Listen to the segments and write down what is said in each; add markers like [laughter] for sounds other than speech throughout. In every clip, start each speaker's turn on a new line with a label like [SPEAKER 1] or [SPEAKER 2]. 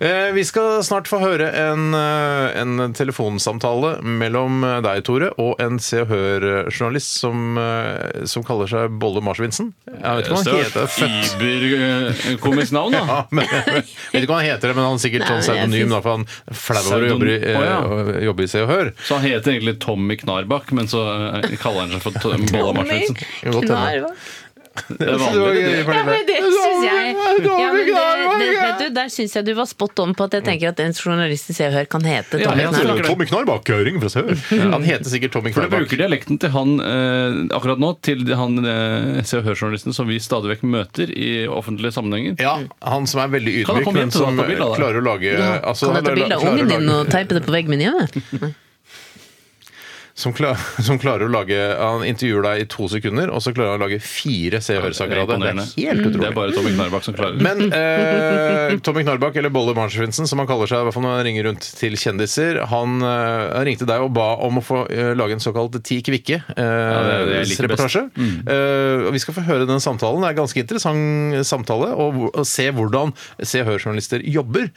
[SPEAKER 1] Eh, Vi skal snart få høre en, eh, en telefonsamtale mellom eh, deg, Tore, og en Se og Hør-journalist som, eh, som kaller seg Bolle Marsvinsen. Jeg vet ikke hva han heter. Født.
[SPEAKER 2] Iberkomisk navn, da.
[SPEAKER 1] [laughs] Ja, men, jeg vet ikke hva han heter, men han er sikkert sånn
[SPEAKER 3] Nei, jeg
[SPEAKER 1] pseudonym,
[SPEAKER 3] synes-
[SPEAKER 1] da, for han er flau over å jobbe i, eh,
[SPEAKER 2] Å,
[SPEAKER 1] å jobbe i Se og Hør.
[SPEAKER 2] Så han heter egentlig Tommy Knarbakk, men så eh, kaller han seg for Tom- Bolla
[SPEAKER 3] [laughs]
[SPEAKER 2] Martinsen.
[SPEAKER 1] Godt hende.
[SPEAKER 3] Knarvak.
[SPEAKER 2] Det er vanlig. det.
[SPEAKER 3] Ja, men det syns jeg ja, men det, det, vet du, Der syns jeg du var spot on på at jeg tenker at en journalist i Se og Hør kan hete
[SPEAKER 2] Ja,
[SPEAKER 3] Tommy
[SPEAKER 2] jeg
[SPEAKER 1] altså,
[SPEAKER 3] Knarvak.
[SPEAKER 2] tror det.
[SPEAKER 1] Tommy Knarbakk, høring fra Sør. Han heter sikkert Tommy
[SPEAKER 2] Mm. For du
[SPEAKER 1] Knarbakk.
[SPEAKER 2] bruker dialekten til han eh, akkurat nå, til han eh, Se og Hør-journalisten som vi stadig vekk møter i offentlige sammenhenger.
[SPEAKER 1] Ja, han som er veldig
[SPEAKER 2] Kan han
[SPEAKER 1] ydmyk,
[SPEAKER 2] komme
[SPEAKER 1] men
[SPEAKER 2] hjem til
[SPEAKER 1] som
[SPEAKER 2] å ta bilder av det?
[SPEAKER 1] klarer å lage altså,
[SPEAKER 3] Mm. kan jeg ta
[SPEAKER 1] klarer-
[SPEAKER 3] bilde av
[SPEAKER 1] klarer å
[SPEAKER 3] ungen din
[SPEAKER 1] lage-
[SPEAKER 3] og teipe det på veggen min hjemme?
[SPEAKER 1] Som, klar, [laughs] som klarer å lage Han intervjuer deg i to sekunder, og så klarer han å lage fire Se og Hør-saker av det. Det er
[SPEAKER 2] Imponerende.
[SPEAKER 1] helt
[SPEAKER 2] Det er
[SPEAKER 1] utrolig.
[SPEAKER 2] bare Tommy Knarbakk som klarer det.
[SPEAKER 1] Men eh, Tommy Knarbakk, eller Bolle Marsvinsen, som han kaller seg i hvert fall når han ringer rundt til kjendiser, han eh, ringte deg og ba om å få eh, lage en såkalt Ti eh,
[SPEAKER 2] det er Mm. det jeg liker
[SPEAKER 1] kvikke-reportasje. Eh, vi skal få høre den samtalen. Det er en ganske interessant samtale å se hvordan Se og Hør-journalister jobber.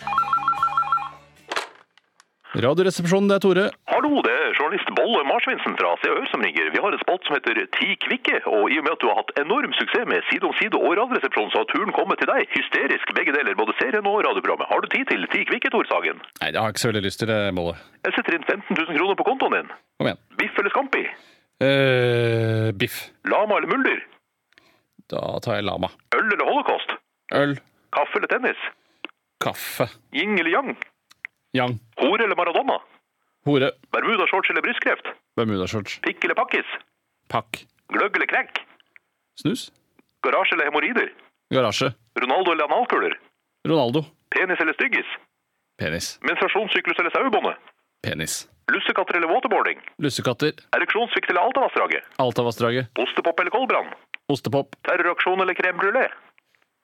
[SPEAKER 2] Radioresepsjonen, det er Tore.
[SPEAKER 4] Hallo, det er journalist Bolle Marsvinsen fra Se og Hør som ringer. Vi har en spalt som heter Ti kvikke, og i og med at du har hatt enorm suksess med Side om side og Radioresepsjonen, så har turen kommet til deg. Hysterisk, begge deler, både serien og radioprogrammet. Har du tid til Ti kvikke, Tor Sagen?
[SPEAKER 2] Nei, det har jeg ikke så veldig lyst til, det, Bolle.
[SPEAKER 4] Jeg setter inn 15 000 kroner på kontoen din.
[SPEAKER 2] Kom igjen.
[SPEAKER 4] Biff eller Scampi?
[SPEAKER 2] Eh, biff.
[SPEAKER 4] Lama eller Mulder?
[SPEAKER 2] Da tar jeg lama.
[SPEAKER 4] Øl eller holocaust?
[SPEAKER 2] Øl.
[SPEAKER 4] Kaffe eller tennis?
[SPEAKER 2] Kaffe.
[SPEAKER 4] Yin eller yang?
[SPEAKER 2] Yang.
[SPEAKER 4] Hore eller Maradona?
[SPEAKER 2] Hore.
[SPEAKER 4] Bermuda-shorts eller brystkreft?
[SPEAKER 2] Bermudashorts.
[SPEAKER 4] Pikk eller pakkis?
[SPEAKER 2] Pakk.
[SPEAKER 4] Gløgg eller krekk?
[SPEAKER 2] Snus.
[SPEAKER 4] Garasje eller hemoroider?
[SPEAKER 2] Garasje.
[SPEAKER 4] Ronaldo eller analkuler?
[SPEAKER 2] Ronaldo.
[SPEAKER 4] Penis eller styggis?
[SPEAKER 2] Penis.
[SPEAKER 4] Menstruasjonssyklus eller sauebåndet?
[SPEAKER 2] Penis.
[SPEAKER 4] Lussekatter eller waterboarding?
[SPEAKER 2] Lussekatter.
[SPEAKER 4] Ereksjonssvikt eller Altavassdraget?
[SPEAKER 2] Altavassdraget.
[SPEAKER 4] Ostepop eller koldbrann?
[SPEAKER 2] Ostepop.
[SPEAKER 4] Terroraksjon eller crème brulé?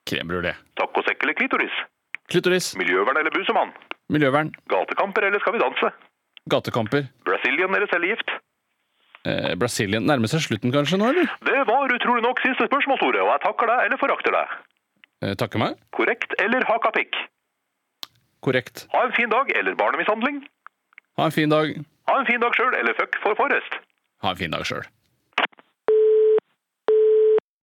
[SPEAKER 2] Crème brulé.
[SPEAKER 4] Tacosekk eller klitoris?
[SPEAKER 2] Klitoris.
[SPEAKER 4] Miljøvern eller busemann?
[SPEAKER 2] Miljøvern.
[SPEAKER 4] Gatekamper eller Skal vi danse?
[SPEAKER 2] Gatekamper.
[SPEAKER 4] Brazilian eller cellegift?
[SPEAKER 2] Eh, Brasilien nærmer seg slutten kanskje nå, eller?
[SPEAKER 4] Det var utrolig nok siste spørsmål, Tore, og jeg takker deg eller forakter deg.
[SPEAKER 2] Eh, takker meg.
[SPEAKER 4] Korrekt eller hakapikk?
[SPEAKER 2] Korrekt.
[SPEAKER 4] Ha en fin dag eller barnemishandling?
[SPEAKER 2] Ha en fin dag.
[SPEAKER 4] Ha en fin dag sjøl eller fuck for Forrest?
[SPEAKER 2] Ha en fin dag sjøl.